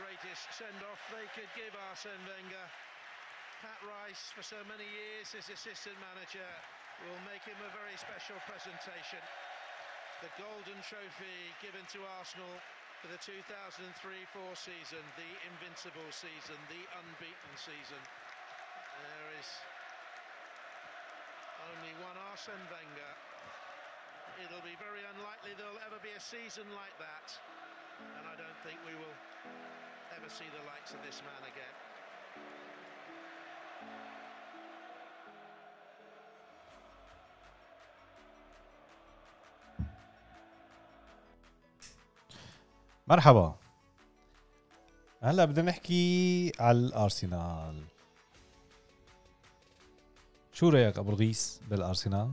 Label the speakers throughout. Speaker 1: greatest send-off they could give Arsene Wenger. Pat Rice, for so many years his assistant manager, will make him a very special presentation. The golden trophy given to Arsenal for the 2003-4 season, the invincible season, the unbeaten season. There is only one Arsene Wenger. It'll be very unlikely there'll ever be a season like that. And I don't think we will ever see the likes of this man again.
Speaker 2: مرحبا هلا بدنا نحكي على الارسنال شو رايك ابو رئيس بالارسنال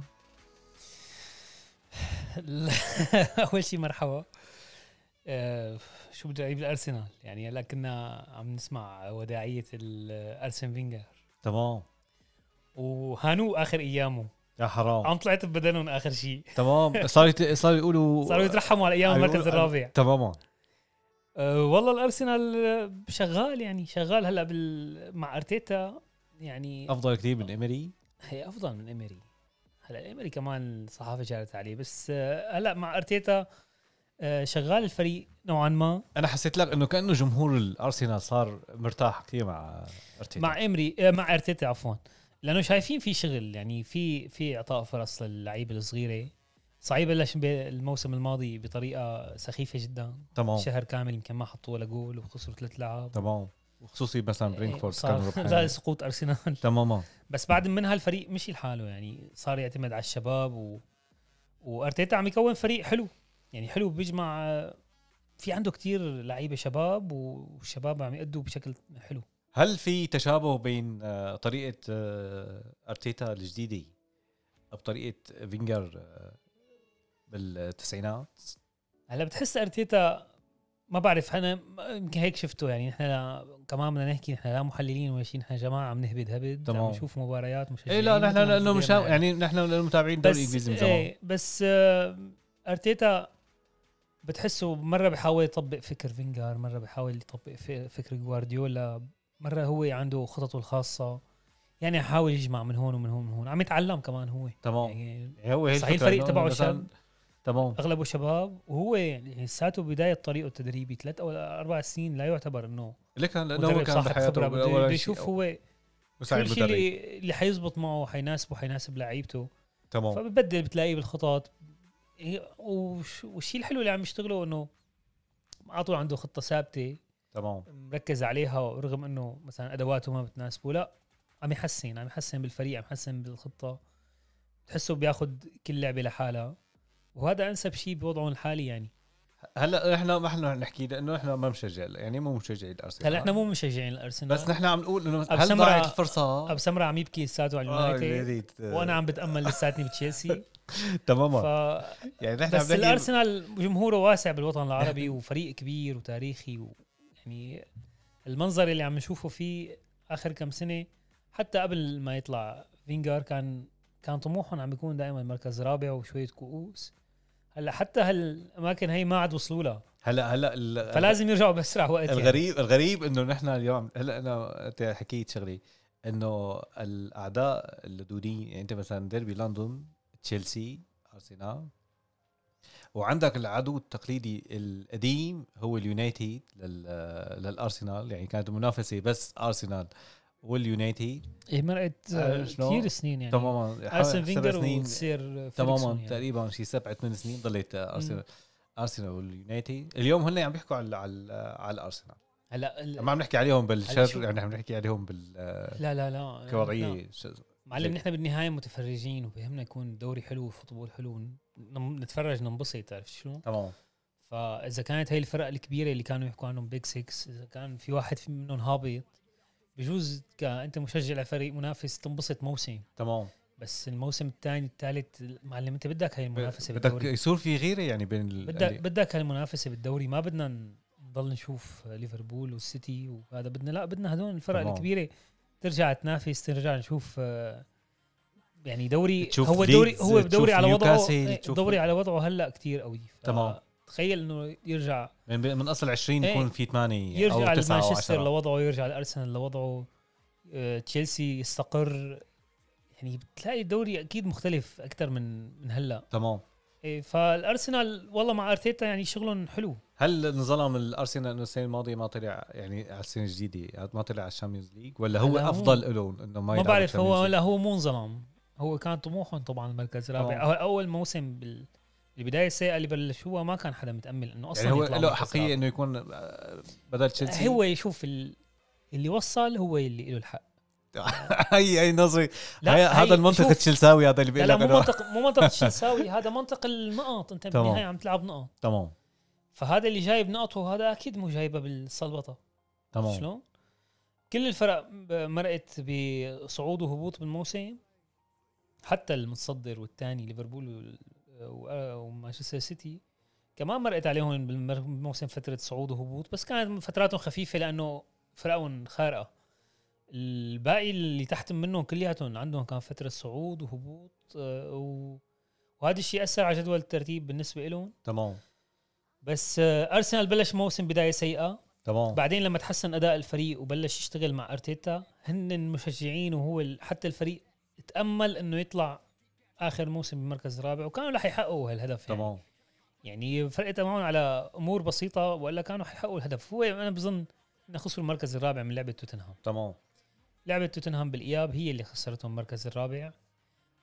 Speaker 3: لا، اول شيء مرحبا آه، شو بدي اعيب الارسنال يعني هلا كنا عم نسمع وداعيه الارسن فينجر
Speaker 2: تمام
Speaker 3: وهانو اخر ايامه
Speaker 2: يا حرام
Speaker 3: عم طلعت ببدنهم اخر شيء
Speaker 2: تمام صاروا يت- صاروا يقولوا
Speaker 3: صاروا يترحموا على ايام المركز
Speaker 2: يقولوا-
Speaker 3: الرابع
Speaker 2: تماما
Speaker 3: أه والله الارسنال آه، شغال يعني شغال هلا بال... مع ارتيتا يعني
Speaker 2: افضل كثير من امري
Speaker 3: هي افضل من اميري هلا اميري كمان الصحافه شارت عليه بس آه، هلا مع ارتيتا آه، شغال الفريق نوعا ما
Speaker 2: انا حسيت لك انه كانه جمهور الارسنال صار مرتاح كثير مع ارتيتا
Speaker 3: مع امري آه، مع ارتيتا عفوا لانه شايفين في شغل يعني في في اعطاء فرص للعيبه الصغيره صعيب بلش ب- الموسم الماضي بطريقه سخيفه جدا
Speaker 2: تمام
Speaker 3: شهر كامل يمكن ما حطوا ولا جول وخسروا ثلاث لعب
Speaker 2: تمام وخصوصي مثلا برينفورد كانوا
Speaker 3: إيه، صار لا
Speaker 2: ربحانين.
Speaker 3: سقوط ارسنال
Speaker 2: تماما
Speaker 3: بس بعد منها الفريق مشي لحاله يعني صار يعتمد على الشباب و... وارتيتا عم يكون فريق حلو يعني حلو بيجمع آه، في عنده كتير لعيبه شباب والشباب عم يأدوا بشكل حلو
Speaker 2: هل في تشابه بين آه، طريقة آه، أرتيتا الجديدة بطريقة فينجر آه، بالتسعينات؟
Speaker 3: هلا بتحس ارتيتا ما بعرف انا يمكن هيك شفته يعني نحن لا- كمان بدنا نحكي نحن لا محللين ولا شيء نحن جماعه عم نهبد هبد
Speaker 2: تمام.
Speaker 3: عم نشوف مباريات مشجعين
Speaker 2: ايه لا نحن
Speaker 3: مثل ما
Speaker 2: لأنه مش
Speaker 3: بنصير
Speaker 2: يعني نحن المتابعين الدوري
Speaker 3: بس
Speaker 2: الإنجليزي من زمان
Speaker 3: ايه بس آه، ارتيتا بتحسه مره بحاول يطبق فكر فينجر مره بحاول يطبق ف- فكر جوارديولا مره هو عنده خططه الخاصه يعني حاول يجمع من هون ومن هون ومن هون عم يتعلم كمان هو
Speaker 2: تمام
Speaker 3: يعني
Speaker 2: هو هي
Speaker 3: صحيح
Speaker 2: الفكرة
Speaker 3: الفريق
Speaker 2: إنه
Speaker 3: تبعه
Speaker 2: مثلاً-
Speaker 3: شاب.
Speaker 2: تمام
Speaker 3: اغلبه شباب وهو يعني لساته بدايه طريقه التدريبي ثلاث او اربع سنين لا يعتبر انه
Speaker 2: لك لأنه هو
Speaker 3: مدرب
Speaker 2: كان
Speaker 3: صاحب
Speaker 2: بحياته
Speaker 3: خبره بده
Speaker 2: أول
Speaker 3: بده
Speaker 2: شيء
Speaker 3: يشوف هو
Speaker 2: مساعد
Speaker 3: كل شيء
Speaker 2: مدرب
Speaker 3: اللي, اللي حيزبط معه حيناسبه حيناسب لعيبته
Speaker 2: تمام
Speaker 3: فببدل بتلاقيه بالخطط هي- وش- والشيء الحلو اللي عم يشتغله انه على طول عنده خطه ثابته
Speaker 2: تمام
Speaker 3: مركز عليها رغم انه مثلا ادواته ما بتناسبه لا عم يحسن عم يحسن بالفريق عم يحسن بالخطه بتحسه بياخد كل لعبه لحالها وهذا انسب شيء بوضعهم الحالي يعني
Speaker 2: هلا نحن ما احنا نحكي لأنه نحن ما مشجع يعني مو مشجعي الأرسنال
Speaker 3: هلا احنا مو مشجعين الارسنال
Speaker 2: بس نحن عم نقول انه هل
Speaker 3: سمرة-
Speaker 2: ضاعت الفرصة؟
Speaker 3: ابو سمره عم يبكي لساته على
Speaker 2: آه،
Speaker 3: اليونايتد
Speaker 2: جديد.
Speaker 3: وانا عم بتامل لساتني بتشيلسي ف...
Speaker 2: تماما يعني نحن عم
Speaker 3: بس
Speaker 2: نحكي
Speaker 3: الارسنال جمهوره واسع بالوطن العربي وفريق كبير وتاريخي و... يعني المنظر اللي عم نشوفه فيه اخر كم سنه حتى قبل ما يطلع فينجر كان كان طموحهم عم يكون دائما مركز رابع وشويه كؤوس هلا حتى هالاماكن هي ما عاد وصلوا لها
Speaker 2: هلا هلا ال-
Speaker 3: فلازم يرجعوا باسرع وقت يعني.
Speaker 2: آه، الغريب الغريب انه نحن اليوم هلا انا انت حكيت شغلي انه الاعداء اللدودين يعني انت مثلا ديربي لندن تشيلسي ارسنال وعندك العدو التقليدي القديم هو اليونايتد لل- للارسنال يعني كانت منافسه بس ارسنال واليونايتد
Speaker 3: إيه مرقت
Speaker 2: آه، شلون؟
Speaker 3: كثير سنين يعني
Speaker 2: تماما حوالي
Speaker 3: ارسن
Speaker 2: سبع
Speaker 3: فينجر
Speaker 2: سنين
Speaker 3: وتصير
Speaker 2: تماما
Speaker 3: فيرجسون يعني.
Speaker 2: تقريبا شي سبع ثمان سنين ضليت ارسنال ارسنال واليونايتد اليوم هن عم بيحكوا على على, على الارسنال
Speaker 3: هلا ال-
Speaker 2: ما عم نحكي عليهم
Speaker 3: هلا شو-
Speaker 2: بالشر يعني عم نحكي عليهم بال آه،
Speaker 3: لا لا لا لا.
Speaker 2: كوضعيه شو-
Speaker 3: معلم نحن بالنهايه متفرجين وبهمنا يكون دوري حلو وفوتبول حلو نم- نتفرج ننبسط عرفت شو؟
Speaker 2: تمام
Speaker 3: فاذا كانت هي الفرق الكبيره اللي كانوا يحكوا عنهم بيج 6 اذا كان في واحد في- منهم هابط بجوز ك- انت مشجع لفريق منافس تنبسط موسم
Speaker 2: تمام
Speaker 3: بس الموسم الثاني الثالث معلم انت بدك هاي المنافسه
Speaker 2: بدك
Speaker 3: بالدوري
Speaker 2: يصير في غيره يعني بين ال-
Speaker 3: بدك
Speaker 2: اللي-
Speaker 3: بدك هاي المنافسه بالدوري ما بدنا نضل نشوف ليفربول والسيتي وهذا بدنا لا بدنا هدول الفرق
Speaker 2: تمام.
Speaker 3: الكبيره ترجع تنافس ترجع نشوف آه، يعني دوري
Speaker 2: تشوف
Speaker 3: هو دوري
Speaker 2: ليدز،
Speaker 3: هو دوري
Speaker 2: تشوف
Speaker 3: على وضعه
Speaker 2: نيوكاسل،
Speaker 3: إيه،
Speaker 2: تشوف-
Speaker 3: دوري على وضعه هلا كتير قوي ف-
Speaker 2: تمام.
Speaker 3: تخيل انه يرجع
Speaker 2: من, من اصل 20
Speaker 3: إيه.
Speaker 2: يكون في 8
Speaker 3: يرجع
Speaker 2: او 9 او
Speaker 3: لمانشستر
Speaker 2: 10
Speaker 3: لوضعه يرجع لارسنال لوضعه آه، تشيلسي يستقر يعني بتلاقي الدوري اكيد مختلف اكثر من من هلا
Speaker 2: تمام
Speaker 3: إيه، فالارسنال والله مع ارتيتا يعني شغلهم حلو
Speaker 2: هل انظلم الارسنال انه السنه الماضيه ما طلع يعني على السنه الجديده ما طلع على الشامبيونز ليج ولا هو
Speaker 3: هلا هو-
Speaker 2: افضل له انه ما
Speaker 3: ما
Speaker 2: يلعب
Speaker 3: بعرف هو
Speaker 2: بالشامبيونز
Speaker 3: لا هو مو انظلم هو كان طموحهم طبعا المركز الرابع
Speaker 2: طبعاً.
Speaker 3: أو- اول موسم بال... البدايه السيئه اللي بلشوها ما كان حدا متامل انه
Speaker 2: ليج؟
Speaker 3: اصلا
Speaker 2: يعني هو
Speaker 3: يطلع
Speaker 2: له
Speaker 3: مركز
Speaker 2: حقيقه
Speaker 3: رابع.
Speaker 2: انه يكون آه، بدل تشيلسي
Speaker 3: هو يشوف ال... اللي وصل هو اللي له الحق
Speaker 2: هي هي نظري
Speaker 3: لا،
Speaker 2: هي-
Speaker 3: هي-
Speaker 2: هذا المنطق
Speaker 3: شوف.
Speaker 2: التشيلساوي هذا اللي
Speaker 3: لا,
Speaker 2: بيقول
Speaker 3: لا
Speaker 2: لك
Speaker 3: مو
Speaker 2: انه
Speaker 3: منطق مو منطق الشنساوي هذا منطق النقط انت
Speaker 2: تمام.
Speaker 3: بالنهايه عم تلعب نقط
Speaker 2: تمام
Speaker 3: فهذا اللي جايب نقطه هذا اكيد مو جايبها بالسلبطه
Speaker 2: تمام
Speaker 3: شلون؟ كل الفرق ب- مرقت بصعود وهبوط بالموسم حتى المتصدر والثاني ليفربول وال- و- آه، ومانشستر سيتي كمان مرقت عليهم بالمر- بالموسم فترة صعود وهبوط بس كانت فتراتهم خفيفة لأنه فرقهم خارقة الباقي اللي تحت منهم كلياتهم عندهم كان فترة صعود وهبوط آه، و... وهذا الشيء أثر على جدول الترتيب بالنسبة لهم
Speaker 2: تمام
Speaker 3: بس آه، أرسنال بلش موسم بداية سيئة
Speaker 2: تمام
Speaker 3: بعدين لما تحسن اداء الفريق وبلش يشتغل مع ارتيتا هن المشجعين وهو ال- حتى الفريق تامل انه يطلع اخر موسم بمركز رابع وكانوا رح يحققوا هالهدف يعني,
Speaker 2: تمام
Speaker 3: يعني فرقت معهم على امور بسيطه والا كانوا حيحققوا الهدف هو انا بظن انه خسروا المركز الرابع من لعبه توتنهام
Speaker 2: تمام
Speaker 3: لعبه توتنهام بالاياب هي اللي خسرتهم المركز الرابع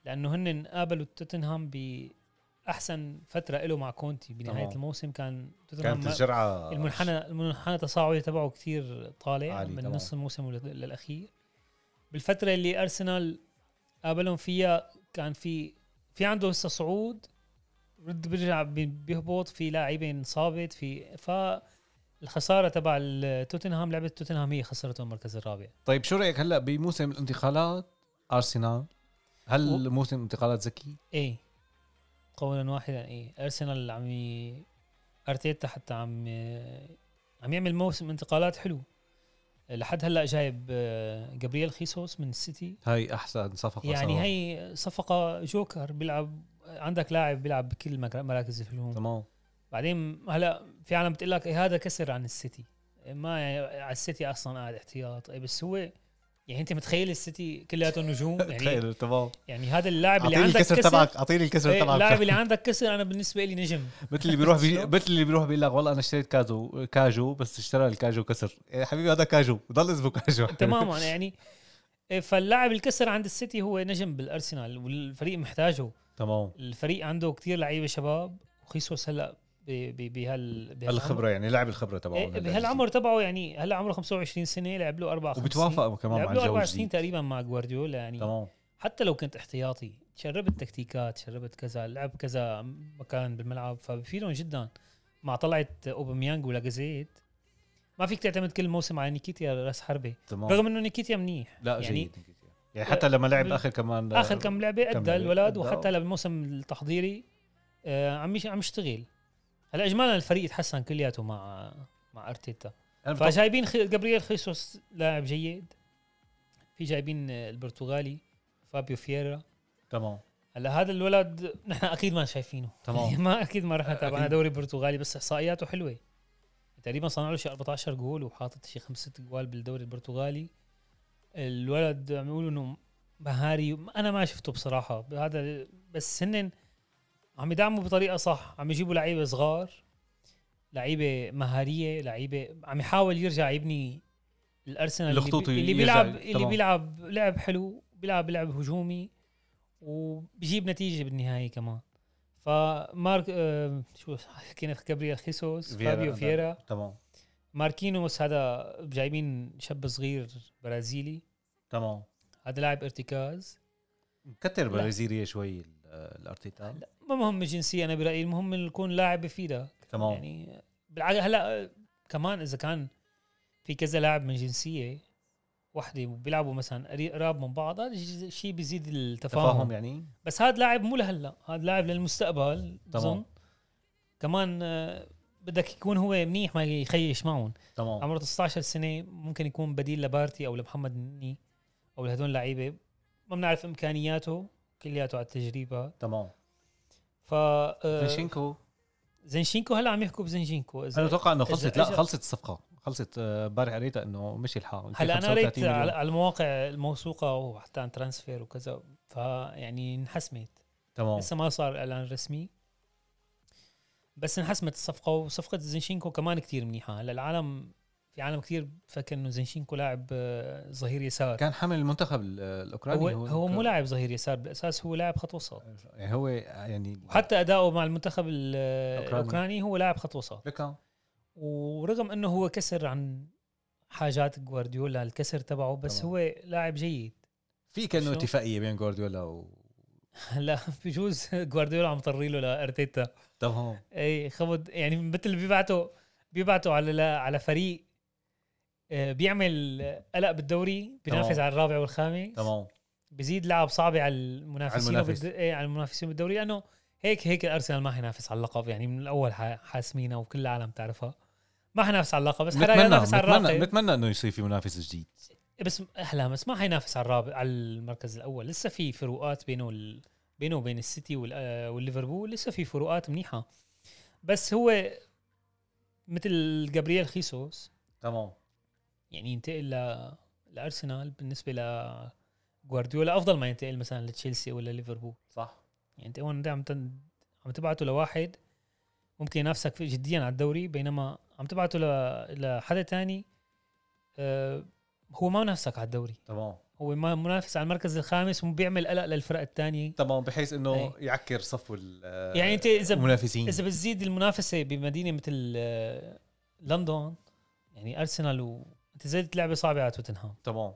Speaker 3: لانه هن قابلوا توتنهام باحسن فتره له مع كونتي بنهايه
Speaker 2: تمام.
Speaker 3: الموسم كان توتنهام
Speaker 2: كانت
Speaker 3: ما-
Speaker 2: الجرعه
Speaker 3: المنحنى المنحنى تصاعدي تبعه كثير طالع
Speaker 2: عالي
Speaker 3: من
Speaker 2: طبعاً.
Speaker 3: نص الموسم ولل- للاخير بالفتره اللي ارسنال قابلهم فيها كان في في عنده هسه صعود رد بيرجع بي- بيهبط في لاعبين انصابت في فالخساره تبع ال- توتنهام لعبه توتنهام هي خسرته المركز الرابع
Speaker 2: طيب شو رايك هلا بموسم الانتقالات ارسنال هل
Speaker 3: و-
Speaker 2: موسم الانتقالات ذكي؟
Speaker 3: ايه قولا واحدا ايه ارسنال عم ي... ارتيتا حتى عم عم يعمل موسم انتقالات حلو لحد هلا جايب آه، جابرييل خيسوس من السيتي
Speaker 2: هاي احسن صفقه
Speaker 3: يعني
Speaker 2: صراحة.
Speaker 3: هي صفقه جوكر بيلعب عندك لاعب بيلعب بكل المك- مراكز الهجوم
Speaker 2: تمام
Speaker 3: بعدين هلا في عالم بتقول لك إيه هذا كسر عن السيتي ما يعني على السيتي اصلا قاعد احتياط إيه بس هو يعني انت متخيل السيتي كلياته نجوم يعني
Speaker 2: تخيل تمام
Speaker 3: يعني هذا اللاعب اللي
Speaker 2: اعطيني
Speaker 3: عندك
Speaker 2: الكسر
Speaker 3: كسر
Speaker 2: تبعك اعطيني الكسر
Speaker 3: إيه، اللاعب
Speaker 2: تبعك
Speaker 3: اللي عندك كسر انا بالنسبه لي نجم
Speaker 2: مثل اللي بيروح بي...
Speaker 3: شلون؟
Speaker 2: مثل اللي بيروح بيقول لك والله انا اشتريت كازو كاجو بس اشترى الكاجو كسر يا حبيبي هذا كاجو ضل اسمه كاجو
Speaker 3: تماما يعني إيه، فاللاعب الكسر عند السيتي هو نجم بالارسنال والفريق محتاجه
Speaker 2: تمام
Speaker 3: الفريق عنده كتير لعيبه شباب وخيسوس هلا ب- ب- بهال بهالعمر.
Speaker 2: الخبره يعني لعب الخبره تبعه
Speaker 3: إيه، بهالعمر تبعه يعني هلا عمره 25 سنه لعب له 4
Speaker 2: وبتوافق كمان مع
Speaker 3: لعب له
Speaker 2: الجو
Speaker 3: 4 سنين
Speaker 2: الجديد
Speaker 3: تقريبا مع جوارديولا يعني
Speaker 2: تمام
Speaker 3: حتى لو كنت احتياطي شربت تكتيكات شربت كذا لعب كذا مكان بالملعب فبفيدهم جدا مع طلعه اوباميانج ولاجازيت ما فيك تعتمد كل موسم على نيكيتيا راس حربه
Speaker 2: تمام
Speaker 3: رغم انه نيكيتيا منيح
Speaker 2: لا
Speaker 3: يعني
Speaker 2: جيد يعني حتى لما لعب اخر كمان
Speaker 3: اخر كم لعبه
Speaker 2: كم
Speaker 3: ادى
Speaker 2: لعبة
Speaker 3: الولد
Speaker 2: أدى.
Speaker 3: وحتى هلا بالموسم التحضيري آه، عم يش- عم يشتغل هلا اجمالا الفريق تحسن كلياته مع مع ارتيتا
Speaker 2: أنا بتوقع-
Speaker 3: فجايبين خي... جابرييل خيسوس لاعب جيد في جايبين آه، البرتغالي فابيو فييرا
Speaker 2: تمام
Speaker 3: هلا هذا الولد نحن اكيد ما شايفينه
Speaker 2: تمام.
Speaker 3: ما اكيد ما رح
Speaker 2: أكيد.
Speaker 3: نتابع أنا دوري برتغالي بس احصائياته حلوه تقريبا صنع له شي 14 جول وحاطط شي خمسة جوال بالدوري البرتغالي الولد عم يقولوا انه مهاري انا ما شفته بصراحه هذا ال- بس هن عم يدعموا بطريقه صح عم يجيبوا لعيبه صغار لعيبه مهاريه لعيبه عم يحاول يرجع يبني الارسنال اللي,
Speaker 2: الخطوط
Speaker 3: بي- اللي
Speaker 2: يرجع-
Speaker 3: بيلعب اللي
Speaker 2: تمام.
Speaker 3: بيلعب لعب حلو بيلعب لعب هجومي وبجيب نتيجه بالنهايه كمان فمارك آه شو حكينا كابريال خيسوس
Speaker 2: فييرا نعم.
Speaker 3: فابيو
Speaker 2: أنا-
Speaker 3: فييرا
Speaker 2: تمام
Speaker 3: ماركينوس هذا جايبين شاب صغير برازيلي
Speaker 2: تمام
Speaker 3: هذا لاعب ارتكاز
Speaker 2: مكتر برازيليه شوي ال- الارتيتا
Speaker 3: ما مهم الجنسيه انا برايي المهم إنه يكون لاعب بفيدك
Speaker 2: تمام.
Speaker 3: يعني بالعكس هلا آه، كمان اذا كان في كذا لاعب من جنسيه وحده بيلعبوا مثلا قري- قراب من بعض هذا شيء بيزيد التفاهم,
Speaker 2: تفاهم يعني
Speaker 3: بس هذا لاعب مو لهلا هذا لاعب للمستقبل
Speaker 2: تمام.
Speaker 3: بظن كمان آه، بدك يكون هو منيح ما يخيش معهم
Speaker 2: تمام
Speaker 3: عمره 19 سنه ممكن يكون بديل لبارتي او لمحمد مني او لهدول لعيبه ما بنعرف امكانياته كلياته على التجربه
Speaker 2: تمام
Speaker 3: ف آه،
Speaker 2: فليشينكو
Speaker 3: زنشينكو هلا عم يحكوا بزنشينكو
Speaker 2: انا
Speaker 3: اذا
Speaker 2: اتوقع انه خلصت
Speaker 3: إذا-
Speaker 2: لا
Speaker 3: إذا-
Speaker 2: خلصت الصفقه خلصت آه، امبارح قريتها انه مشي الحال
Speaker 3: هلا انا
Speaker 2: 35
Speaker 3: قريت
Speaker 2: مليون.
Speaker 3: على على المواقع الموثوقه وحتى عن ترانسفير وكذا فيعني انحسمت
Speaker 2: تمام
Speaker 3: لسه ما صار اعلان رسمي بس انحسمت الصفقه وصفقه زنشينكو كمان كتير منيحه هلا العالم في عالم كتير بفكر انه زنشينكو لاعب آه، ظهير يسار
Speaker 2: كان حامل المنتخب ال- الاوكراني
Speaker 3: هو هو مو لاعب ظهير يسار بالاساس هو لاعب خط وسط
Speaker 2: يعني هو يعني
Speaker 3: حتى اداؤه مع المنتخب ال-
Speaker 2: الأوكراني.
Speaker 3: الاوكراني هو لاعب خط وسط
Speaker 2: لكا
Speaker 3: ورغم انه هو كسر عن حاجات جوارديولا الكسر تبعه بس
Speaker 2: طبعاً.
Speaker 3: هو لاعب جيد
Speaker 2: في كانه
Speaker 3: شو؟
Speaker 2: اتفاقيه بين جوارديولا و
Speaker 3: هلا بجوز جوارديولا عم طري له لارتيتا
Speaker 2: تمام
Speaker 3: اي خبط يعني مثل بيبعتوا بيبعتوا على لا على فريق آه، بيعمل قلق بالدوري بينافس
Speaker 2: تمام.
Speaker 3: على الرابع والخامس
Speaker 2: تمام
Speaker 3: بزيد لعب صعبه على المنافسين
Speaker 2: على المنافس.
Speaker 3: وبالد- إيه، على المنافسين بالدوري لانه هيك هيك الارسنال ما حينافس على اللقب يعني من الاول ح- حاسمينها وكل العالم تعرفها ما حينافس على اللقب بس حدا
Speaker 2: نتمنى
Speaker 3: ينافس على
Speaker 2: نتمنى
Speaker 3: الرابع
Speaker 2: نتمنى انه يصير في منافس جديد
Speaker 3: إيه، بس اهلا بس ما حينافس على الرابع على المركز الاول لسه في فروقات بينه وال... بينه وبين السيتي وال... آه، والليفربول لسه في فروقات منيحه بس هو مثل جابرييل خيسوس
Speaker 2: تمام
Speaker 3: يعني ينتقل ل... لارسنال بالنسبه ل جوارديولا افضل ما ينتقل مثلا لتشيلسي ولا ليفربول
Speaker 2: صح
Speaker 3: يعني انت هون انت عم تن... عم تبعته لواحد ممكن ينافسك في- جديا على الدوري بينما عم تبعته ل... لحدا تاني أه... هو ما منافسك على الدوري
Speaker 2: تمام
Speaker 3: هو ما- منافس على المركز الخامس وبيعمل قلق للفرق الثانيه
Speaker 2: تمام بحيث انه
Speaker 3: إيه.
Speaker 2: يعكر صفو ال-
Speaker 3: يعني انت اذا
Speaker 2: المنافسين
Speaker 3: اذا بتزيد المنافسه بمدينه مثل آه، لندن يعني ارسنال و انت زادت لعبه صعبه على توتنهام
Speaker 2: تمام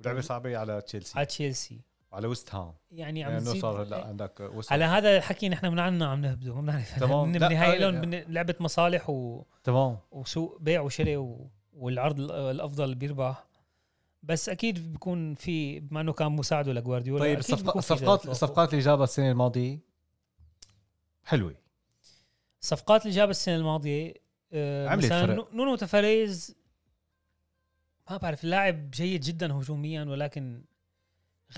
Speaker 2: لعبه صعبه على تشيلسي
Speaker 3: طيب. على تشيلسي
Speaker 2: على ويست هام
Speaker 3: يعني عم
Speaker 2: يعني انه
Speaker 3: تزيد
Speaker 2: صار هلا عندك ويست
Speaker 3: على هذا الحكي نحن بنعنا عم نهبده ما بنعرف
Speaker 2: تمام.
Speaker 3: تمام
Speaker 2: لا،
Speaker 3: بالنهايه
Speaker 2: آه،
Speaker 3: لهم بن- لعبه مصالح و...
Speaker 2: تمام
Speaker 3: وسوق بيع وشراء و... والعرض ال- الافضل بيربح بس اكيد بيكون في بما انه كان مساعده لجوارديولا
Speaker 2: طيب
Speaker 3: أكيد
Speaker 2: الصفق-
Speaker 3: بيكون في
Speaker 2: الصفقات
Speaker 3: توافق.
Speaker 2: الصفقات اللي جابها السنه الماضيه حلوه
Speaker 3: الصفقات اللي جابها السنه الماضيه آه،
Speaker 2: عملت
Speaker 3: مثلا
Speaker 2: فرق.
Speaker 3: نو- نونو تفاريز ما بعرف اللاعب جيد جدا هجوميا ولكن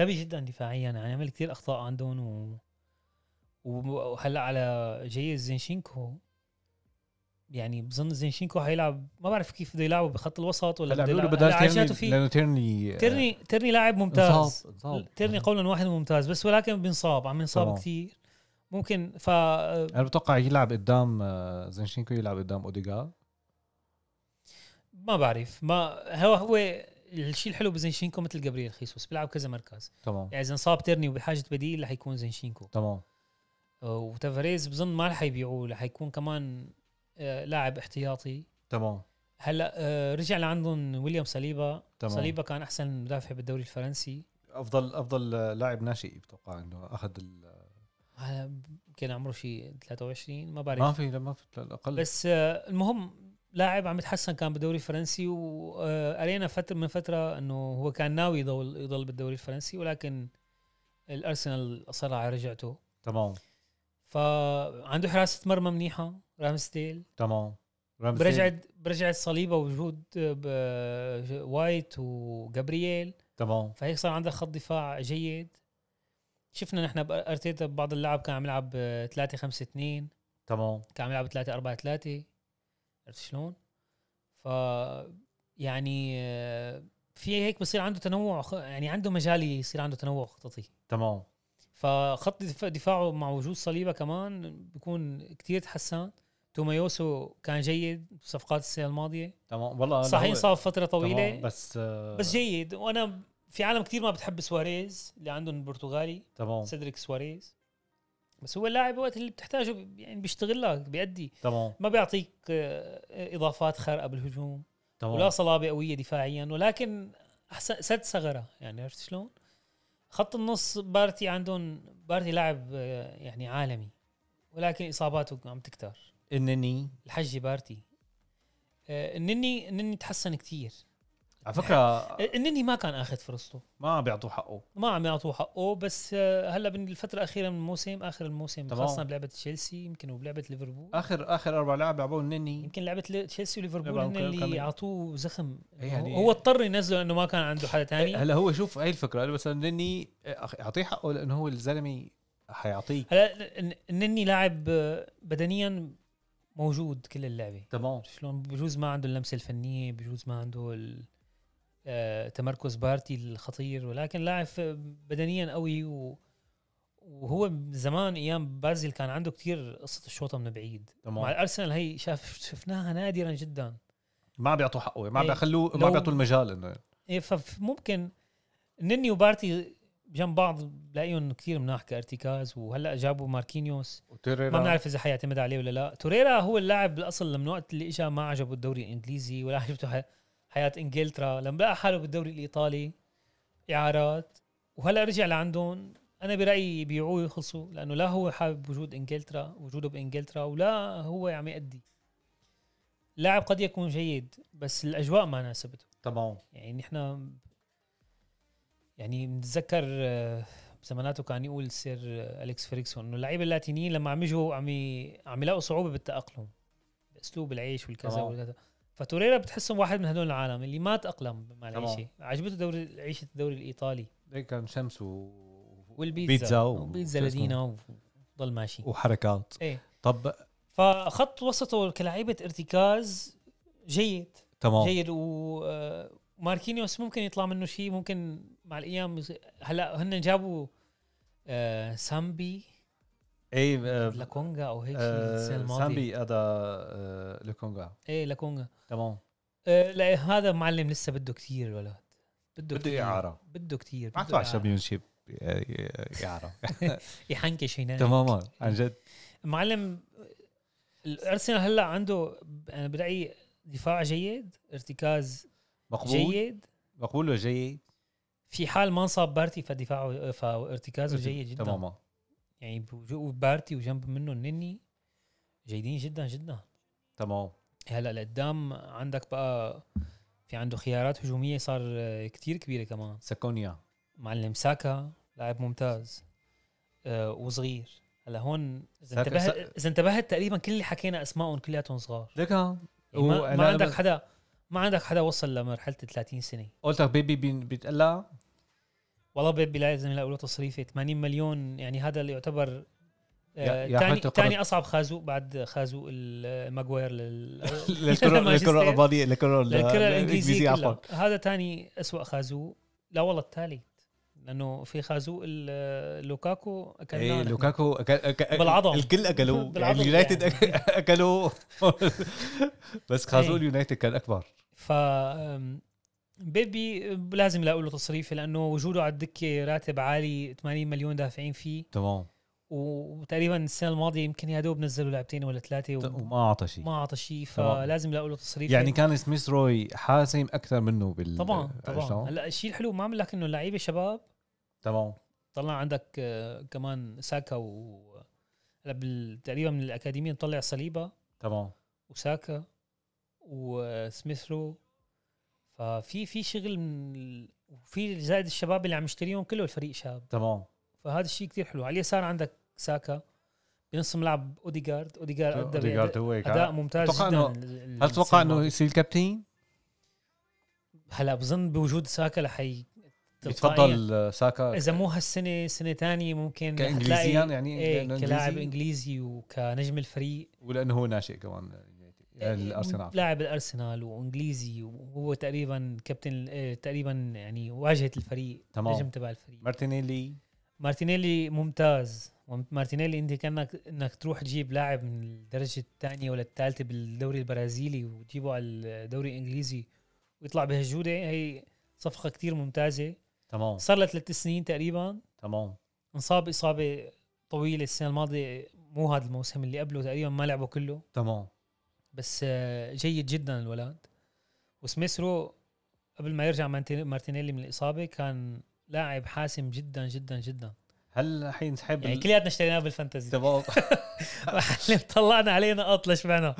Speaker 3: غبي جدا دفاعيا يعني عمل كثير اخطاء عندهم و و- وهلا على جاي زينشينكو يعني بظن زينشينكو حيلعب ما بعرف كيف بده يلعبه بخط الوسط ولا
Speaker 2: هلا
Speaker 3: بده
Speaker 2: بيقولوا
Speaker 3: يلعب-
Speaker 2: بدل
Speaker 3: هلا عجاته
Speaker 2: تيرني
Speaker 3: في
Speaker 2: لانه تيرني آه،
Speaker 3: ترني ترني لاعب ممتاز
Speaker 2: انصاب انصاب
Speaker 3: ترني قولا واحد ممتاز بس ولكن بنصاب عم ينصاب
Speaker 2: تمام.
Speaker 3: كثير ممكن ف آه،
Speaker 2: انا بتوقع يلعب قدام آه، زنشينكو يلعب قدام اوديغار
Speaker 3: ما بعرف ما هو هو الشيء الحلو بزنشينكو مثل جابرييل خيسوس بيلعب كذا مركز
Speaker 2: تمام
Speaker 3: يعني اذا انصاب تيرني وبحاجه بديل رح يكون زنشينكو
Speaker 2: تمام
Speaker 3: آه، وتافاريز بظن ما رح يبيعوه رح يكون كمان آه، لاعب احتياطي
Speaker 2: تمام
Speaker 3: هلا آه، رجع لعندهم ويليام صليبا
Speaker 2: تمام.
Speaker 3: صليبا كان احسن مدافع بالدوري الفرنسي
Speaker 2: افضل افضل آه، لاعب ناشئ بتوقع انه اخذ ال-
Speaker 3: هلا كان عمره شيء 23 ما بعرف
Speaker 2: ما في لا ما في لا، الاقل
Speaker 3: بس آه، المهم لاعب عم يتحسن كان بالدوري الفرنسي وقرينا فتره من فتره انه هو كان ناوي يضل يضل بالدوري الفرنسي ولكن الارسنال اصر على رجعته
Speaker 2: تمام
Speaker 3: فعنده حراسه مرمى منيحه رامسديل
Speaker 2: تمام رامسديل.
Speaker 3: برجعت برجعت صليبه وجود آه، ب- وايت وجابرييل
Speaker 2: تمام
Speaker 3: فهيك صار عندك خط دفاع جيد شفنا نحن بارتيتا ببعض اللعب كان عم يلعب آه، 3 5 2
Speaker 2: تمام
Speaker 3: كان عم يلعب 3 4 3 عرفت شلون؟ ف يعني آه، في هيك بصير عنده تنوع خ- يعني عنده مجال يصير عنده تنوع خططي
Speaker 2: تمام
Speaker 3: فخط دف- دفاعه مع وجود صليبه كمان بيكون كتير تحسن توميوسو كان جيد بصفقات السنه الماضيه
Speaker 2: تمام والله أنا
Speaker 3: صحيح
Speaker 2: آه، هو-
Speaker 3: صار فتره
Speaker 2: تمام
Speaker 3: طويله
Speaker 2: بس آه،
Speaker 3: بس جيد وانا في عالم كتير ما بتحب سواريز اللي عندهم البرتغالي
Speaker 2: تمام
Speaker 3: سيدريك سواريز بس هو اللاعب وقت اللي بتحتاجه بي- يعني بيشتغل لك بيأدي
Speaker 2: تمام
Speaker 3: ما بيعطيك آه، اضافات خارقه بالهجوم ولا
Speaker 2: تمام
Speaker 3: صلابه قويه دفاعيا ولكن احسن سد ثغره يعني عرفت شلون؟ خط النص بارتي عندهم بارتي لاعب آه، يعني عالمي ولكن اصاباته عم تكتر
Speaker 2: انني
Speaker 3: الحجي بارتي آه، النني النني تحسن كثير
Speaker 2: على فكره
Speaker 3: النني ما كان اخذ فرصته
Speaker 2: ما عم بيعطوه حقه
Speaker 3: ما عم يعطوه حقه بس آه، هلا بالفتره الاخيره من الموسم اخر الموسم
Speaker 2: تمام. آه.
Speaker 3: خاصه بلعبه تشيلسي يمكن وبلعبه ليفربول
Speaker 2: اخر اخر اربع لاعب لعبوه النني
Speaker 3: يمكن لعبه لي- تشيلسي وليفربول
Speaker 2: لعبة
Speaker 3: هن
Speaker 2: كم- كم-
Speaker 3: اللي اعطوه زخم
Speaker 2: يعني-
Speaker 3: يعني هو اضطر ينزله لانه ما كان عنده حدا تاني
Speaker 2: هلا هو شوف هاي الفكره قال بس النني آه، أخ- اعطيه حقه لانه هو الزلمه حيعطيك
Speaker 3: هلا ن- نني لاعب آه، بدنيا موجود كل اللعبه
Speaker 2: تمام
Speaker 3: شلون بجوز ما عنده اللمسه الفنيه بجوز ما عنده ال- آه، تمركز بارتي الخطير ولكن لاعب ف- بدنيا قوي و وهو زمان ايام بازل كان عنده كتير قصه الشوطه من بعيد مع
Speaker 2: تمام
Speaker 3: الارسنال هي شاف شفناها نادرا جدا
Speaker 2: ما بيعطوا حقه ما
Speaker 3: إيه.
Speaker 2: بيخلوه ما
Speaker 3: لو-
Speaker 2: بيعطوا المجال انه
Speaker 3: إيه فممكن نني وبارتي جنب بعض بلاقيهم كثير مناح كارتكاز وهلا جابوا ماركينيوس ما
Speaker 2: وتيريرا
Speaker 3: بنعرف اذا حيعتمد عليه ولا لا توريرا هو اللاعب بالاصل من وقت اللي اجى ما عجبه الدوري الانجليزي ولا عجبته ح- حياه انجلترا لما لقى حاله بالدوري الايطالي اعارات وهلا رجع لعندهم انا برايي يبيعوه ويخلصوا لانه لا هو حابب وجود انجلترا وجوده بانجلترا ولا هو عم يأدي لاعب قد يكون جيد بس الاجواء ما ناسبته
Speaker 2: تمام
Speaker 3: يعني نحن يعني بنتذكر آه، بزماناته كان يقول سير آه، اليكس فيريكسون انه اللعيبه اللاتينيين لما عم يجوا عم ي- عم يلاقوا صعوبه بالتاقلم باسلوب العيش والكذا
Speaker 2: تمام.
Speaker 3: والكذا فتوريرا بتحسهم واحد من هدول العالم اللي ما تاقلم مع
Speaker 2: تمام.
Speaker 3: العيشه عجبته دوري عيشه الدوري الايطالي
Speaker 2: هيك كان شمس و...
Speaker 3: والبيتزا
Speaker 2: بيتزا و-
Speaker 3: والبيتزا
Speaker 2: شو اسمه؟
Speaker 3: لدينا وضل ماشي
Speaker 2: وحركات
Speaker 3: ايه
Speaker 2: طب
Speaker 3: فخط وسطه كلعيبه ارتكاز جيد
Speaker 2: تمام
Speaker 3: جيد وماركينيوس ممكن يطلع منه شيء ممكن مع الايام يص- هلا هن جابوا آه، سامبي
Speaker 2: اي آه،
Speaker 3: لاكونغا او هيك شيء
Speaker 2: آه،
Speaker 3: السنه الماضيه
Speaker 2: سامبي هذا آه، لوكونغا
Speaker 3: ايه لاكونغا
Speaker 2: تمام
Speaker 3: آه، لا هذا معلم لسه بده كثير الولد بده
Speaker 2: بده
Speaker 3: كتير.
Speaker 2: إعارة.
Speaker 3: بده كثير
Speaker 2: ما على آه، الشامبيون شيب يعرف
Speaker 3: يعني يحنكش هناك
Speaker 2: تماما عن جد
Speaker 3: معلم الارسنال هلا عنده انا برايي دفاع جيد ارتكاز
Speaker 2: مقبول
Speaker 3: جيد
Speaker 2: مقبول وجيد
Speaker 3: في حال ما انصاب بارتي فدفاعه فارتكازه جيد جدا
Speaker 2: تماما
Speaker 3: يعني بوجو بارتي وجنب منه نني جيدين جدا جدا
Speaker 2: تمام
Speaker 3: هلا لقدام عندك بقى في عنده خيارات هجوميه صار آه، كتير كبيره كمان
Speaker 2: ساكونيا
Speaker 3: معلم ساكا لاعب ممتاز آه، وصغير هلا هون اذا
Speaker 2: ساكا-
Speaker 3: انتبهت
Speaker 2: سا-
Speaker 3: اذا انتبهت تقريبا كل اللي حكينا اسمائهم كلياتهم صغار
Speaker 2: لك ها
Speaker 3: يعني ما,
Speaker 2: وأنا-
Speaker 3: ما عندك حدا ما عندك حدا وصل لمرحله 30 سنه
Speaker 2: قلت لك بيبي بين- بيتقلع
Speaker 3: والله بيبي لازم يلاقوا له تصريفه 80 مليون يعني هذا اللي يعتبر آه،
Speaker 2: يا- يا
Speaker 3: ثاني
Speaker 2: حالة القرض.
Speaker 3: ثاني اصعب خازوق بعد خازوق الماجواير لل
Speaker 2: للكره للكره
Speaker 3: للمانشستر.
Speaker 2: الالمانيه للكره
Speaker 3: للكره
Speaker 2: الانجليزيه
Speaker 3: الانجليزيه
Speaker 2: عفوا
Speaker 3: كلها هذا ثاني اسوء خازوق لا والله الثالث لانه في خازوق ال- آه، لوكاكو
Speaker 2: ايه
Speaker 3: اكلناه نحن.
Speaker 2: لوكاكو أكل أكل
Speaker 3: بالعظم.
Speaker 2: الكل اكلوه يعني
Speaker 3: بالعظم
Speaker 2: اليونايتد
Speaker 3: يعني.
Speaker 2: أك- اكلوه بس خازوق
Speaker 3: إيه.
Speaker 2: اليونايتد كان اكبر
Speaker 3: ف أم، بيبي لازم يلاقوا له تصريفه لانه وجوده على الدكه راتب عالي 80 مليون دافعين فيه
Speaker 2: تمام
Speaker 3: و- وتقريبا السنه الماضيه يمكن يا دوب نزلوا لعبتين ولا ثلاثه و-
Speaker 2: وما اعطى شيء
Speaker 3: ما اعطى شيء
Speaker 2: طبعاً.
Speaker 3: فلازم يلاقوا له تصريف
Speaker 2: يعني كان سميث روي حاسم اكثر منه بال
Speaker 3: طبعا
Speaker 2: شلون؟
Speaker 3: طبعا هلا الشيء الحلو ما عم لك انه اللعيبه شباب
Speaker 2: تمام
Speaker 3: طلع عندك آه، كمان ساكا و هلا بال- تقريبا من الاكاديميه مطلع صليبا
Speaker 2: تمام
Speaker 3: وساكا وسميث رو ففي في شغل من ال- وفي زائد الشباب اللي عم يشتريهم كله الفريق شاب
Speaker 2: تمام
Speaker 3: فهذا الشيء كتير حلو على اليسار عندك ساكا بنص ملعب اوديجارد اوديجارد ادى
Speaker 2: أوديغارد
Speaker 3: بأداء-
Speaker 2: هو هيك.
Speaker 3: اداء يعني ممتاز
Speaker 2: أتوقع
Speaker 3: جدا
Speaker 2: إنه-
Speaker 3: ال-
Speaker 2: هل تتوقع
Speaker 3: السنة
Speaker 2: انه يصير الكابتن؟
Speaker 3: هلا بظن بوجود ساكا رح ي- تلقائياً.
Speaker 2: بتفضل آه، ساكا
Speaker 3: اذا مو هالسنه سنه تانية ممكن رح
Speaker 2: كإنجليزياً
Speaker 3: تلاقي-
Speaker 2: يعني
Speaker 3: ايه
Speaker 2: لأنه
Speaker 3: كلاعب
Speaker 2: إنجليزي؟
Speaker 3: انجليزي وكنجم الفريق يعني
Speaker 2: ولانه هو ناشئ كمان
Speaker 3: إيه،
Speaker 2: آه، الارسنال عفواً.
Speaker 3: لاعب الارسنال وانجليزي وهو تقريبا كابتن آه، تقريبا يعني واجهه الفريق
Speaker 2: تمام.
Speaker 3: نجم تبع الفريق
Speaker 2: مارتينيلي
Speaker 3: مارتينيلي ممتاز مارتينيلي انت كانك انك تروح تجيب لاعب من الدرجه الثانيه ولا الثالثه بالدوري البرازيلي وتجيبه على الدوري الانجليزي ويطلع بهالجوده هي صفقه كتير ممتازه
Speaker 2: تمام
Speaker 3: صار لها ثلاث سنين تقريبا
Speaker 2: تمام
Speaker 3: انصاب اصابه طويله السنه الماضيه مو هذا الموسم اللي قبله تقريبا ما لعبه كله
Speaker 2: تمام
Speaker 3: بس آه، جيد جدا الولد وسميث رو قبل ما يرجع مانتي- مارتينيلي من الاصابه كان لاعب حاسم جدا جدا جدا
Speaker 2: هل حينسحب
Speaker 3: يعني
Speaker 2: ال-
Speaker 3: كلياتنا اشتريناه بالفانتزي
Speaker 2: تمام
Speaker 3: طلعنا عليه نقاط لشبعنا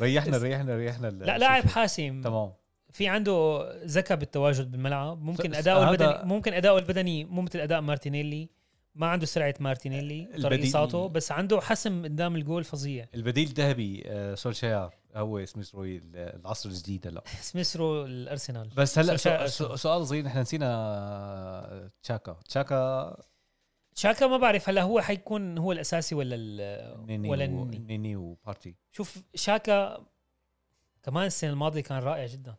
Speaker 2: ريحنا ريحنا ريحنا ال-
Speaker 3: لا لاعب
Speaker 2: الشوط.
Speaker 3: حاسم
Speaker 2: تمام
Speaker 3: في عنده ذكاء بالتواجد بالملعب ممكن
Speaker 2: س-
Speaker 3: اداؤه
Speaker 2: هذا-
Speaker 3: البدني ممكن اداؤه البدني مو مثل اداء مارتينيلي ما عنده سرعه مارتينيلي ترقيصاته بس عنده حسم قدام الجول فظيع
Speaker 2: البديل الذهبي آه، سولشاير هو سميث روي ال- العصر الجديد هلا
Speaker 3: سميثرو الارسنال
Speaker 2: بس هلا
Speaker 3: سولشاير
Speaker 2: سو- سو- سؤال صغير نحن نسينا آه، تشاكا تشاكا
Speaker 3: شاكا ما بعرف هلا هو حيكون هو الاساسي ولا ال
Speaker 2: نيني
Speaker 3: ولا
Speaker 2: و-
Speaker 3: النني.
Speaker 2: نيني وبارتي
Speaker 3: شوف شاكا كمان السنه الماضيه كان رائع جدا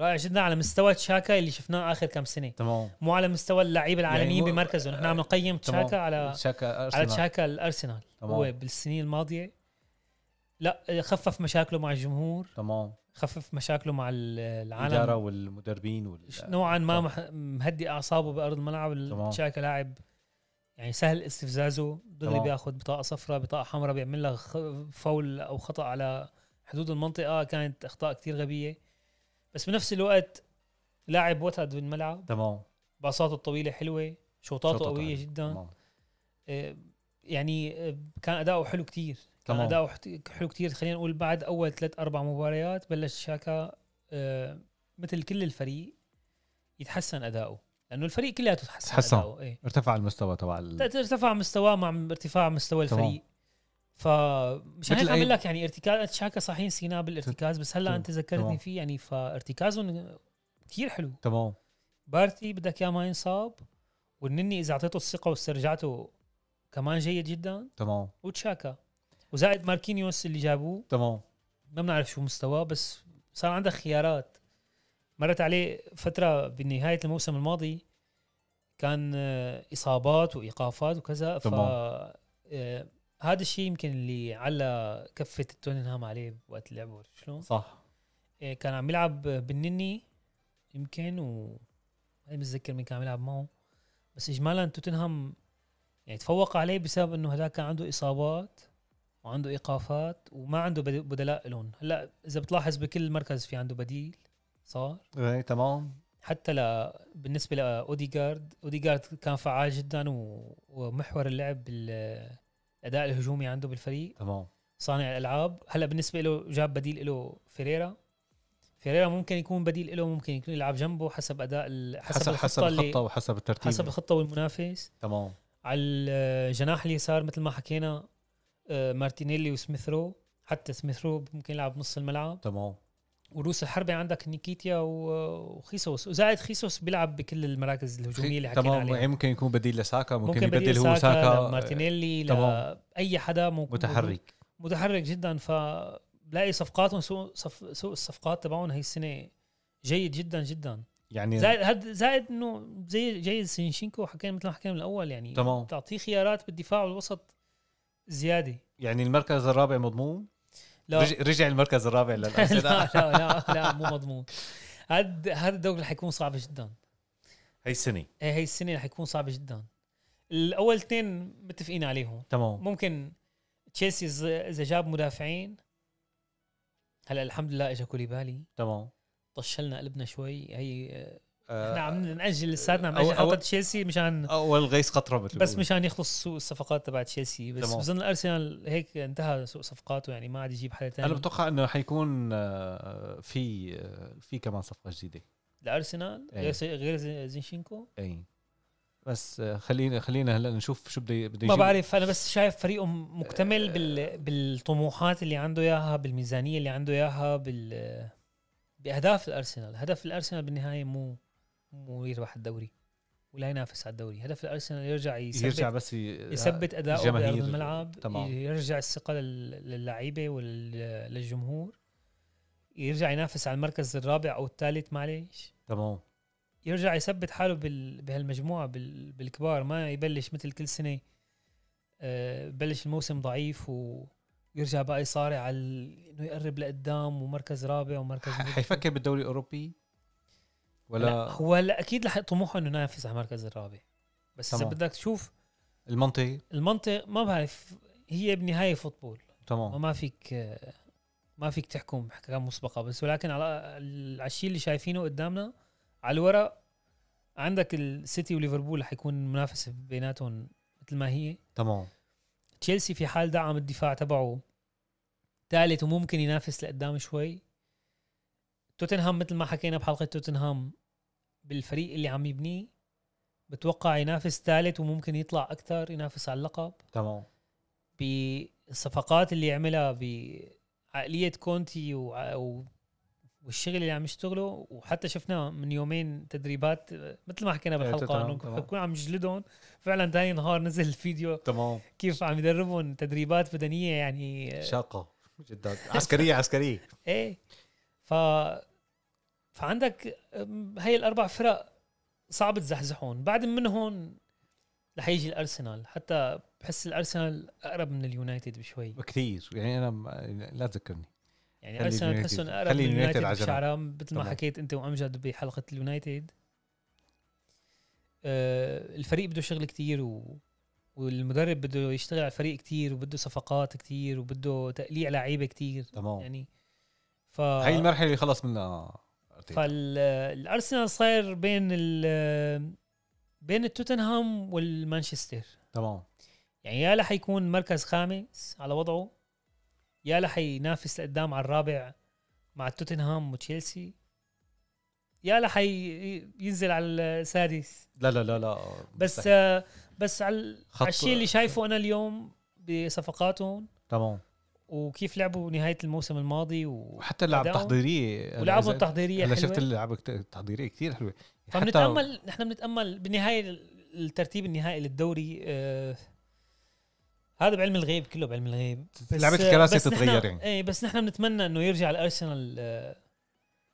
Speaker 3: رائع جدا على مستوى شاكا اللي شفناه اخر كم سنه
Speaker 2: تمام
Speaker 3: مو على مستوى اللاعبين العالميين
Speaker 2: مو-
Speaker 3: يعني بمركزه نحن عم نقيم
Speaker 2: آه، تمام.
Speaker 3: شاكا على
Speaker 2: شاكا
Speaker 3: على
Speaker 2: أرسنال.
Speaker 3: تشاكا الارسنال
Speaker 2: آه، تمام.
Speaker 3: هو بالسنين الماضيه لا خفف مشاكله مع الجمهور
Speaker 2: تمام
Speaker 3: خفف مشاكله مع ال- العالم
Speaker 2: الاداره والمدربين وال
Speaker 3: ش- نوعا ما مح- مهدي اعصابه بارض الملعب
Speaker 2: تمام.
Speaker 3: تشاكا لاعب يعني سهل استفزازه دغري
Speaker 2: تمام.
Speaker 3: بياخذ بطاقه صفراء بطاقه حمراء بيعمل لك خ- فول او خطا على حدود المنطقه كانت اخطاء كتير غبيه بس بنفس الوقت لاعب وتد بالملعب
Speaker 2: تمام
Speaker 3: باصاته الطويله حلوه شوطاته
Speaker 2: شوطته
Speaker 3: قويه
Speaker 2: حلوة.
Speaker 3: جدا
Speaker 2: تمام
Speaker 3: آه، يعني آه، كان اداؤه حلو كتير كان
Speaker 2: تمام.
Speaker 3: اداؤه حت- حلو كتير خلينا نقول بعد اول ثلاث اربع مباريات بلش شاكا آه، مثل كل الفريق يتحسن اداؤه لانه الفريق كله تحسن
Speaker 2: تحسن.
Speaker 3: اداؤه ايه
Speaker 2: ارتفع المستوى تبع ال-
Speaker 3: ت- ارتفع مستواه مع ارتفاع مستوى
Speaker 2: تمام.
Speaker 3: الفريق فمش هيك
Speaker 2: مثل
Speaker 3: عم
Speaker 2: أي-
Speaker 3: بقول لك يعني ارتكاز شاكا صحيح سيناه بالارتكاز بس هلا
Speaker 2: تمام.
Speaker 3: انت ذكرتني
Speaker 2: تمام.
Speaker 3: فيه يعني فارتكازهم كتير حلو
Speaker 2: تمام
Speaker 3: بارتي بدك اياه ما ينصاب والنني اذا اعطيته الثقه واسترجعته كمان جيد جدا
Speaker 2: تمام
Speaker 3: وتشاكا وزائد ماركينيوس اللي جابوه
Speaker 2: تمام
Speaker 3: ما بنعرف شو مستواه بس صار عندك خيارات مرت عليه فترة بنهاية الموسم الماضي كان آه، إصابات وإيقافات وكذا ف
Speaker 2: تمام.
Speaker 3: آه، هذا الشيء يمكن اللي على كفة توتنهام عليه وقت لعبه عرفت شلون
Speaker 2: صح
Speaker 3: آه، كان عم يلعب بالنني يمكن و ما متذكر مين كان عم يلعب معه بس اجمالا توتنهام يعني تفوق عليه بسبب انه هذاك كان عنده اصابات وعنده ايقافات وما عنده بد- بدلاء لهم هلا اذا بتلاحظ بكل مركز في عنده بديل صار
Speaker 2: إيه، تمام
Speaker 3: حتى ل... بالنسبه لاوديجارد اوديجارد كان فعال جدا و... ومحور اللعب بالاداء الهجومي عنده بالفريق
Speaker 2: تمام
Speaker 3: صانع الالعاب هلا بالنسبه له جاب بديل له فيريرا فيريرا ممكن يكون بديل له ممكن يكون يلعب جنبه حسب اداء ال... حسب,
Speaker 2: حسب حسب الخطه
Speaker 3: اللي...
Speaker 2: وحسب الترتيب
Speaker 3: حسب الخطه والمنافس
Speaker 2: تمام
Speaker 3: على الجناح اليسار مثل ما حكينا آه، مارتينيلي وسميثرو حتى سميثرو ممكن يلعب نص الملعب
Speaker 2: تمام
Speaker 3: وروس الحربة عندك نيكيتيا و- وخيسوس وزائد خيسوس بيلعب بكل المراكز الهجوميه اللي حكينا
Speaker 2: تمام
Speaker 3: عليها
Speaker 2: ممكن يكون بديل لساكا ممكن,
Speaker 3: ممكن
Speaker 2: يبدل
Speaker 3: بديل
Speaker 2: هو
Speaker 3: ساكا,
Speaker 2: ساكا
Speaker 3: مارتينيلي
Speaker 2: تمام.
Speaker 3: لاي حدا ممكن
Speaker 2: متحرك
Speaker 3: متحرك جدا ف بلاقي صفقاتهم سوق صف... سوق الصفقات تبعهم هي السنه جيد جدا جدا
Speaker 2: يعني
Speaker 3: زائد هاد زائد انه زي جيد سينشينكو حكينا مثل ما حكينا من الاول يعني
Speaker 2: تمام.
Speaker 3: بتعطيه خيارات بالدفاع والوسط زياده
Speaker 2: يعني المركز الرابع مضمون
Speaker 3: لا
Speaker 2: رجع, رجع المركز الرابع للارسنال
Speaker 3: لا لا لا, لا مو مضمون هاد هاد الدوري حيكون صعب جدا
Speaker 2: هي السنه
Speaker 3: إيه، هي السنه حيكون صعب جدا الاول اثنين متفقين عليهم
Speaker 2: تمام
Speaker 3: ممكن تشيلسي إذا- اذا جاب مدافعين هلا الحمد لله اجا كوليبالي
Speaker 2: تمام
Speaker 3: طشلنا قلبنا شوي هي
Speaker 2: آه،
Speaker 3: احنا عم ناجل لساتنا عم
Speaker 2: أو-
Speaker 3: ناجل حلقه
Speaker 2: أو-
Speaker 3: تشيلسي مشان
Speaker 2: اول غيث قطره مثل
Speaker 3: بس
Speaker 2: ما
Speaker 3: مشان يخلص سوق الصفقات تبع تشيلسي بس
Speaker 2: تمام.
Speaker 3: بظن الارسنال هيك انتهى سوق صفقاته يعني ما عاد يجيب حدا
Speaker 2: بيقولوا. انا
Speaker 3: ثاني
Speaker 2: بتوقع انه حيكون آه، في آه، في كمان صفقه جديده
Speaker 3: الارسنال
Speaker 2: إيه.
Speaker 3: غير زي- غير زي- زينشينكو
Speaker 2: اي بس آه، خلينا خلينا هلا نشوف شو بده بده
Speaker 3: ما
Speaker 2: يجيب.
Speaker 3: بعرف انا بس شايف فريقه م-
Speaker 2: آه.
Speaker 3: مكتمل بال... بالطموحات اللي عنده اياها بالميزانيه اللي عنده اياها بال باهداف الارسنال هدف الارسنال بالنهايه مو مو يربح الدوري ولا ينافس على الدوري هدف الارسنال يرجع يثبت
Speaker 2: يرجع بس ي- آه،
Speaker 3: يثبت اداؤه
Speaker 2: الجماهير.
Speaker 3: بارض الملعب
Speaker 2: تمام.
Speaker 3: يرجع الثقه لل- للعيبه وللجمهور يرجع ينافس على المركز الرابع او الثالث معلش
Speaker 2: تمام
Speaker 3: يرجع يثبت حاله بال... بهالمجموعه بال... بالكبار ما يبلش مثل كل سنه آه، بلش الموسم ضعيف و- ويرجع بقى يصارع على ال- انه يقرب لقدام ومركز رابع ومركز
Speaker 2: ح-
Speaker 3: مدري شو.
Speaker 2: حيفكر بالدوري الاوروبي
Speaker 3: لا
Speaker 2: ولا
Speaker 3: هو هلا اكيد رح طموحه انه ينافس على المركز الرابع بس اذا
Speaker 2: تمام.
Speaker 3: بدك تشوف
Speaker 2: المنطقه
Speaker 3: المنطق ما بعرف هي بالنهايه فوتبول
Speaker 2: تمام
Speaker 3: ما فيك ما فيك تحكم بحكام مسبقه بس ولكن على على الشيء اللي شايفينه قدامنا على الورق عندك السيتي وليفربول حيكون منافسه بيناتهم مثل ما هي
Speaker 2: تمام
Speaker 3: تشيلسي في حال دعم الدفاع تبعه ثالث وممكن ينافس لقدام شوي توتنهام مثل ما حكينا بحلقه توتنهام بالفريق اللي عم يبنيه بتوقع ينافس ثالث وممكن يطلع اكثر ينافس على اللقب
Speaker 2: تمام
Speaker 3: بالصفقات اللي عملها بعقليه كونتي وع- والشغل اللي عم يشتغله وحتى شفنا من يومين تدريبات آه، مثل ما حكينا بالحلقه
Speaker 2: تمام،
Speaker 3: انه
Speaker 2: تمام.
Speaker 3: بكون عم يجلدهم فعلا ثاني نهار نزل الفيديو
Speaker 2: تمام
Speaker 3: كيف عم يدربهم تدريبات بدنيه يعني آه،
Speaker 2: شاقه جدا عسكريه عسكريه
Speaker 3: ايه ف فعندك أم، هي الاربع فرق صعب تزحزحهم بعد من هون رح يجي الارسنال حتى بحس الارسنال اقرب من اليونايتد بشوي
Speaker 2: كثير يعني انا ما- لا تذكرني
Speaker 3: يعني
Speaker 2: خلي
Speaker 3: ارسنال
Speaker 2: اليونايتد-
Speaker 3: بتحسهم اقرب من
Speaker 2: خلي اليونايتد
Speaker 3: اليونايتد
Speaker 2: على جنب.
Speaker 3: بشعرها مثل ما
Speaker 2: تمام.
Speaker 3: حكيت انت وامجد بحلقه اليونايتد آه، الفريق بده شغل كتير و... والمدرب بده يشتغل على الفريق كتير وبده صفقات كتير وبده تقليع لعيبه كتير
Speaker 2: تمام
Speaker 3: يعني آه. ف
Speaker 2: هاي المرحله اللي خلص منها أرتيتا.
Speaker 3: فالارسنال صاير بين ال بين التوتنهام والمانشستر
Speaker 2: تمام
Speaker 3: يعني يا رح يكون مركز خامس على وضعه يا رح ينافس لقدام على الرابع مع توتنهام وتشيلسي يا رح ي- ينزل على السادس
Speaker 2: لا لا لا لا
Speaker 3: بس
Speaker 2: مستحيل.
Speaker 3: آه، بس على ال-
Speaker 2: خط-
Speaker 3: على الشيء اللي شايفه انا اليوم بصفقاتهم
Speaker 2: تمام
Speaker 3: وكيف لعبوا نهايه الموسم الماضي و...
Speaker 2: وحتى اللعب
Speaker 3: أداؤه.
Speaker 2: تحضيريه
Speaker 3: ولعبهم
Speaker 2: تحضيريه
Speaker 3: التحضيريه
Speaker 2: انا
Speaker 3: حلوه
Speaker 2: شفت اللعب كت- التحضيريه كثير حلوه
Speaker 3: فبنتامل نحن بنتامل بالنهايه الترتيب النهائي للدوري آه هذا بعلم الغيب كله بعلم الغيب
Speaker 2: لعبة الكراسي
Speaker 3: بس
Speaker 2: تتغير
Speaker 3: نحن-
Speaker 2: يعني.
Speaker 3: ايه بس نحن بنتمنى انه يرجع الارسنال آه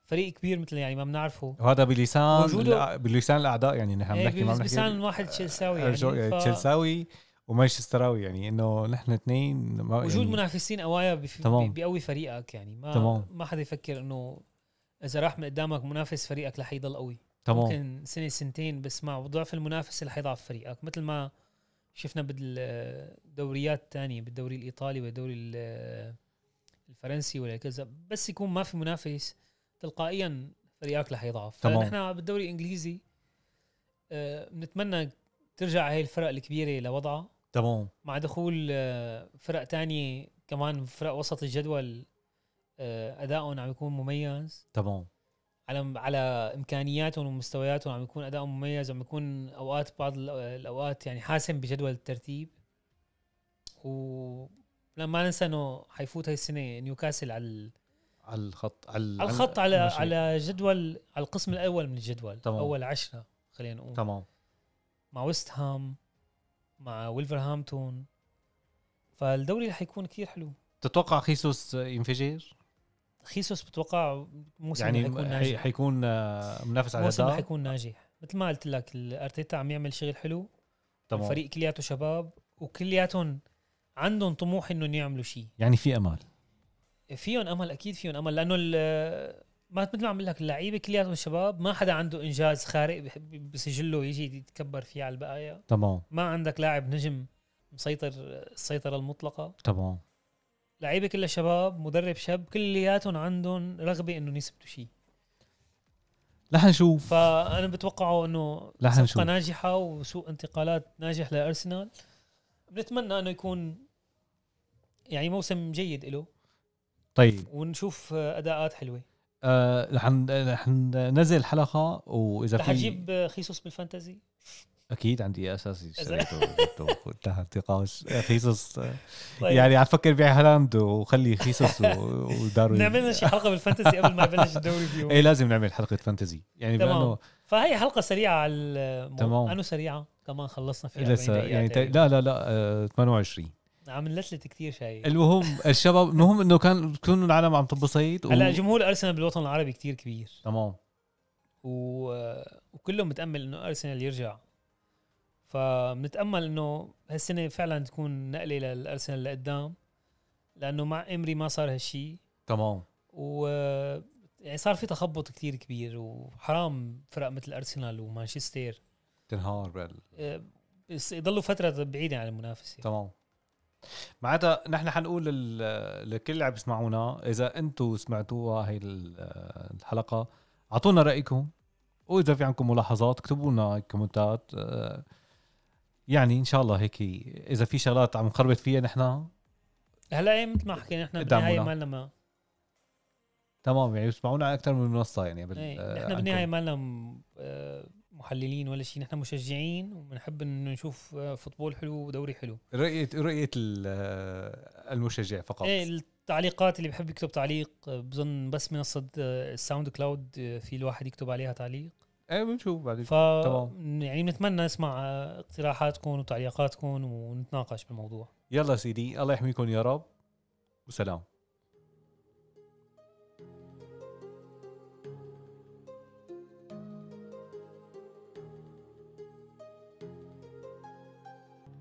Speaker 3: فريق كبير مثل يعني ما بنعرفه
Speaker 2: وهذا بلسان
Speaker 3: وجوده-
Speaker 2: بلسان الاعداء يعني نحن عم
Speaker 3: إيه،
Speaker 2: نحكي ما عم
Speaker 3: بس
Speaker 2: نحكي
Speaker 3: بلسان واحد تشيلساوي يعني
Speaker 2: أرجو-
Speaker 3: ف...
Speaker 2: تشيلساوي ومانشستراوي يعني انه نحن اثنين
Speaker 3: وجود منافسين قوايا بف...
Speaker 2: يعني. تمام.
Speaker 3: بقوي فريقك يعني ما
Speaker 2: تمام.
Speaker 3: ما حدا يفكر انه اذا راح من قدامك منافس فريقك رح يضل قوي
Speaker 2: تمام
Speaker 3: ممكن سنه سنتين بس مع ضعف المنافسه اللي حيضعف فريقك مثل ما شفنا بالدوريات الثانيه بالدوري الايطالي والدوري ال- آه، الفرنسي ولا كذا بس يكون ما في منافس تلقائيا فريقك رح يضعف
Speaker 2: تمام.
Speaker 3: فنحن بالدوري الانجليزي آه، بنتمنى ترجع هاي الفرق الكبيره لوضعها
Speaker 2: تمام
Speaker 3: مع دخول آه، فرق تانية كمان فرق وسط الجدول آه، ادائهم عم يكون مميز
Speaker 2: تمام
Speaker 3: على على امكانياتهم ومستوياتهم عم يكون ادائهم مميز عم يكون اوقات بعض الأو- الاوقات يعني حاسم بجدول الترتيب ولما ننسى انه حيفوت هاي السنه نيوكاسل على ال-
Speaker 2: على الخط على
Speaker 3: على الخط على
Speaker 2: المشي.
Speaker 3: على جدول على القسم الاول من الجدول
Speaker 2: تمام.
Speaker 3: اول عشرة خلينا نقول
Speaker 2: تمام
Speaker 3: مع ويست هام مع ولفرهامبتون فالدوري رح يكون كثير حلو
Speaker 2: تتوقع خيسوس ينفجر؟
Speaker 3: خيسوس بتوقع موسم
Speaker 2: يعني
Speaker 3: رح يكون
Speaker 2: حي-
Speaker 3: ناجح
Speaker 2: حيكون آه، منافس على
Speaker 3: موسم رح
Speaker 2: الأداء
Speaker 3: يكون ناجح مثل ما قلت لك الارتيتا عم يعمل شغل حلو
Speaker 2: تمام
Speaker 3: الفريق كلياته شباب وكلياتهم عندهم طموح انهم يعملوا شيء
Speaker 2: يعني في امل
Speaker 3: فيهم امل اكيد فيهم امل لانه ال- ما مثل ما عم بقول لك اللعيبه كلياتهم شباب ما حدا عنده انجاز خارق بح- بسجله يجي يتكبر فيه على البقايا
Speaker 2: تمام
Speaker 3: ما عندك لاعب نجم مسيطر السيطره المطلقه
Speaker 2: تمام
Speaker 3: لعيبه كلها شباب مدرب شاب كلياتهم عندهم رغبه انهم يثبتوا شيء
Speaker 2: رح نشوف
Speaker 3: فانا بتوقعه انه
Speaker 2: رح نشوف.
Speaker 3: صفقه ناجحه وسوق انتقالات ناجح لارسنال بنتمنى انه يكون يعني موسم جيد له
Speaker 2: طيب
Speaker 3: ونشوف آه، اداءات حلوه
Speaker 2: آه، رح ن- رح ننزل حلقه واذا
Speaker 3: رح
Speaker 2: في
Speaker 3: اجيب آه، خيسوس بالفانتزي
Speaker 2: اكيد عندي اساسي اشتريته جبته. انتهى النقاش آه، خيسوس آه،
Speaker 3: طيب يعني
Speaker 2: يعني عم فكر بيع هالاند وخلي خيسوس و- وداروين
Speaker 3: نعمل لنا شي حلقه بالفانتزي قبل ما يبلش الدوري بيوم
Speaker 2: ايه لازم نعمل حلقه فانتزي يعني
Speaker 3: تمام.
Speaker 2: لانه
Speaker 3: فهي حلقه سريعه على الموضوع
Speaker 2: تمام.
Speaker 3: انه سريعه كمان خلصنا فيها
Speaker 2: لسه يعني ت-
Speaker 3: لا
Speaker 2: لا لا لا آه، 28
Speaker 3: عم نلتلت كثير شيء
Speaker 2: المهم الشباب المهم انه كان تكون العالم عم تنبسط و-
Speaker 3: هلا جمهور ارسنال بالوطن العربي كثير كبير
Speaker 2: تمام
Speaker 3: و... وكله متامل انه ارسنال يرجع فبنتامل انه هالسنه فعلا تكون نقله للارسنال لقدام لانه مع امري ما صار هالشيء
Speaker 2: تمام
Speaker 3: و يعني صار في تخبط كتير كبير وحرام فرق مثل ارسنال ومانشستر
Speaker 2: تنهار بال
Speaker 3: أه، بس يضلوا فتره بعيده عن المنافسه
Speaker 2: تمام معناتها نحن حنقول لل- لكل اللي عم يسمعونا اذا انتم سمعتوها هي ال- الحلقه اعطونا رايكم واذا في عندكم ملاحظات اكتبوا لنا كومنتات آه، يعني ان شاء الله هيك اذا في شغلات عم نخربط فيها نحن
Speaker 3: هلا ايه مثل ما حكينا احنا
Speaker 2: ادعمونا.
Speaker 3: بالنهايه مالنا ما
Speaker 2: تمام يعني يسمعونا على اكثر من منصه يعني بال- آه،
Speaker 3: ايه نحن
Speaker 2: عنكم.
Speaker 3: بالنهايه مالنا م- آه، محللين ولا شيء نحن مشجعين وبنحب انه نشوف آه، فوتبول حلو ودوري حلو
Speaker 2: رؤيه رؤيه ال- آه، المشجع فقط
Speaker 3: ايه التعليقات اللي بحب يكتب تعليق آه، بظن بس منصه آه، الساوند كلاود آه، في الواحد يكتب عليها تعليق
Speaker 2: ايه بنشوف بعدين
Speaker 3: ف يعني بنتمنى نسمع آه، اقتراحاتكم وتعليقاتكم ونتناقش بالموضوع
Speaker 2: يلا سيدي الله يحميكم يا رب وسلام